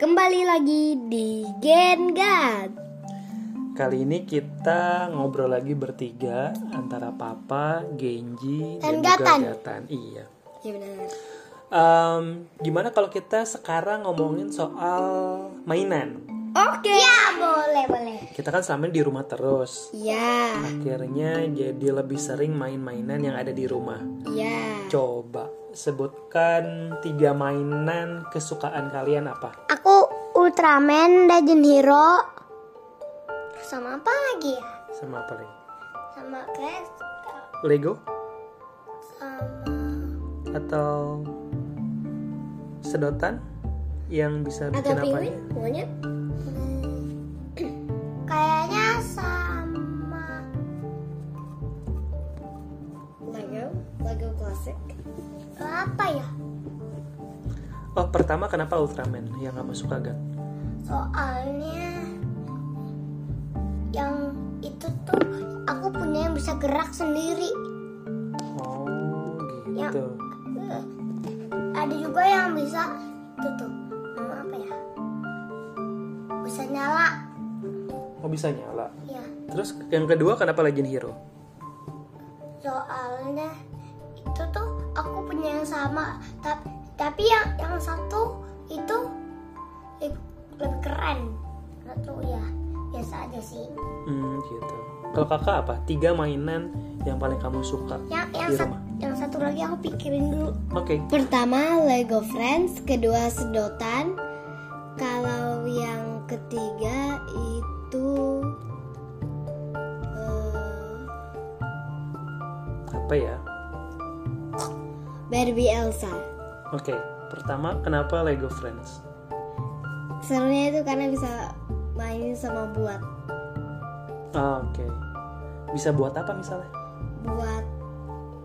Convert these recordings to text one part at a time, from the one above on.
Kembali lagi di Gen God. Kali ini kita ngobrol lagi bertiga antara Papa, Genji, Dan dan, juga Gatan. Gatan. Iya. Ya benar. Em, gimana kalau kita sekarang ngomongin soal mainan? Oke. Ya boleh boleh. Kita kan selama ini di rumah terus. Ya Akhirnya jadi lebih sering main-mainan yang ada di rumah. ya. Coba sebutkan tiga mainan kesukaan kalian apa? Aku Ultraman, Legend Hero. Sama apa lagi ya? Sama apa lagi? Sama Crash. Lego Sama atau sedotan yang bisa ada bikin apa? penguin? Monyet? Kayaknya sama Lego, Lego klasik. Apa ya? Oh, pertama kenapa Ultraman yang kamu suka gak? soalnya yang itu tuh aku punya yang bisa gerak sendiri Oh, Ya. gitu. Eh, ada juga yang bisa itu tuh nama apa ya bisa nyala Oh, bisa nyala. ya Terus yang kedua kenapa Legend Hero? soalnya itu tuh aku punya yang sama tapi tapi yang yang satu itu lebih, lebih keren satu ya biasa aja sih Hmm, gitu. Kalau kakak apa? Tiga mainan yang paling kamu suka yang yang, di sat- rumah? yang satu lagi aku pikirin dulu Oke. Pertama Lego Friends, kedua sedotan. Kalau yang ketiga itu eh, Apa ya? Barbie Elsa. Oke. Pertama kenapa Lego Friends? Serunya itu karena bisa main sama buat Ah, Oke. Bisa buat apa misalnya? buat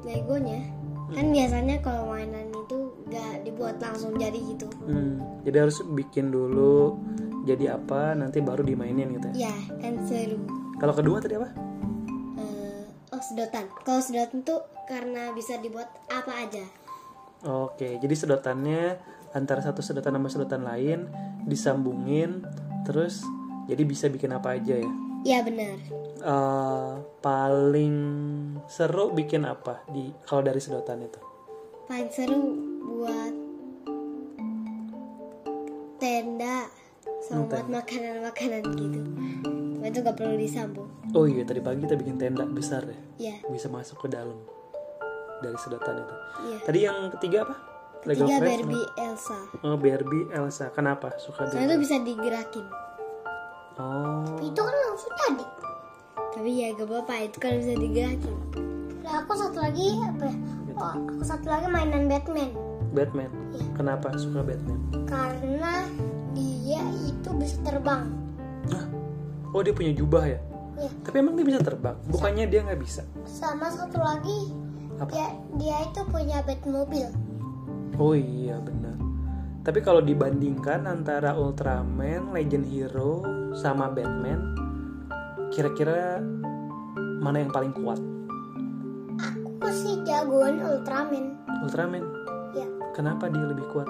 Legonya. Kan biasanya kalau mainan itu gak dibuat langsung jadi gitu. Hmm, jadi harus bikin dulu jadi apa nanti baru dimainin gitu ya. Ya, kan seru. Kalau kedua tadi apa? Eh, oh sedotan. Kalau sedotan tuh karena bisa dibuat apa aja. Oke, jadi sedotannya antara satu sedotan sama sedotan lain disambungin terus jadi bisa bikin apa aja ya. Ya benar. Eh, paling seru bikin apa di kalau dari sedotan itu? paling seru buat tenda sama buat makanan-makanan gitu Cuma itu gak perlu disambung Oh iya, tadi pagi kita bikin tenda besar ya. ya Bisa masuk ke dalam dari sedotan itu. ya Tadi yang ketiga apa? ya? Lego ketiga Friends, Barbie Elsa no? Oh, Barbie Elsa. Kenapa suka soalnya Barbie? itu bisa digerakin Oh. itu kan langsung tadi tapi ya gak apa-apa itu kan bisa digerakin aku satu lagi apa ya? Oh, aku satu lagi mainan Batman Batman. Kenapa suka Batman? karena dia itu bisa terbang Hah? Oh dia punya jubah ya? Iya. Tapi emang dia bisa terbang? Bukannya dia nggak bisa? sama satu lagi Apa? dia dia itu punya Batmobile Oh iya benar. Tapi kalau dibandingkan antara Ultraman, Legend Hero, sama Batman, kira-kira mana yang paling kuat? Aku sih jagoan Ultraman. Ultraman. Ya, Kenapa dia lebih kuat?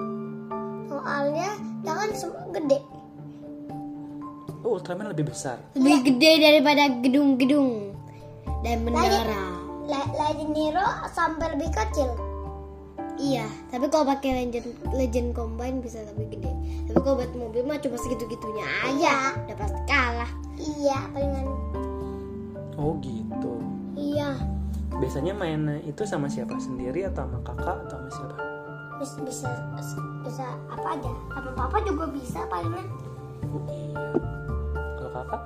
soalnya dia kan semua gede. Oh Ultraman lebih besar. lebih gede daripada gedung-gedung Lagi- dan menara. La- Legend Hero sampai lebih kecil. Iya, tapi kalau pakai legend legend combine bisa lebih gede. Tapi kalau buat mobil mah cuma segitu-gitunya aja, udah pasti kalah. Iya, palingan. Oh gitu. Iya, Biasanya main itu sama siapa? Sendiri atau sama kakak atau sama siapa? bisa bisa, bisa apa aja. Sama papa juga bisa palingan. Oh iya. Kalau kakak?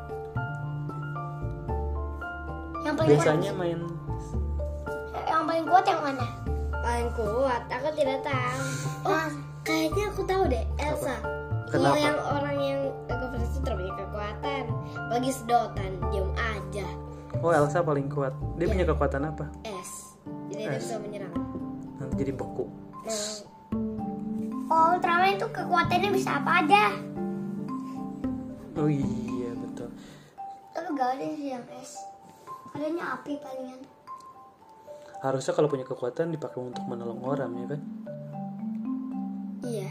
Yang paling Biasanya main kuat, yang paling kuat yang mana? Paling kuat, aku tidak tahu. Oh, Kayaknya aku tahu deh, Elsa. Kenapa? Iya, yang orang yang Lego Friends itu terlalu punya kekuatan. Bagi sedotan, diam aja. Oh Elsa paling kuat. Dia punya kekuatan apa? Es. Jadi dia Es. bisa menyerang. Nanti jadi beku. Nah, Ultraman itu kekuatannya bisa apa aja. Oh iya betul. Tapi gak ada sih yang es. Adanya api palingan. Harusnya kalau punya kekuatan dipakai untuk menolong orang ya kan? iya.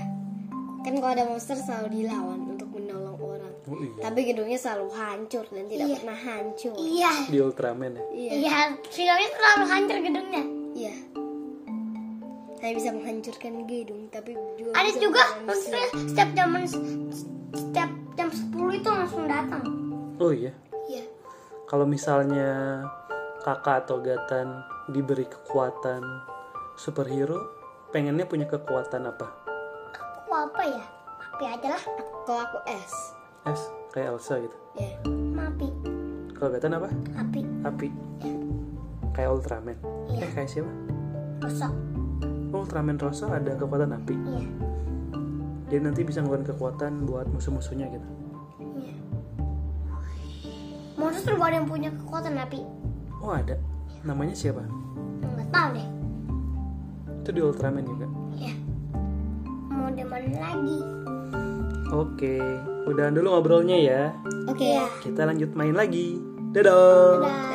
kan kalau ada monster selalu dilawan untuk menolong orang Oh iya. tapi gedungnya selalu hancur dan tidak Iya. pernah hancur Iya. Di Ultraman ya. iya Iya, filmnya terlalu hancur gedungnya. iya saya bisa menghancurkan gedung tapi juga Ada bisa juga menghancurkan monsternya setiap jam setiap jam 10 itu langsung datang. Oh iya. Iya. Kalau misalnya kakak atau gatan diberi kekuatan superhero, pengennya punya kekuatan apa? Aku apa ya? Mapi aja lah. kalau aku es Es kayak Elsa gitu. ya Mapi. Kalau gatan apa? Api. Api. Kayak Ultraman. Iya. Eh kayak siapa? Rusak. Oh, Ultraman Rosa ada kekuatan api. Iya. Dia nanti bisa ngeluarin kekuatan buat musuh-musuhnya gitu. Iya. Monster baru yang punya kekuatan api. Oh ada. Namanya siapa? Enggak tahu deh. Itu di Ultraman juga. Iya. Mau dimana lagi? Oke, udahan dulu ngobrolnya ya. oke Iya. Kita lanjut main lagi. Dadah. Dadah.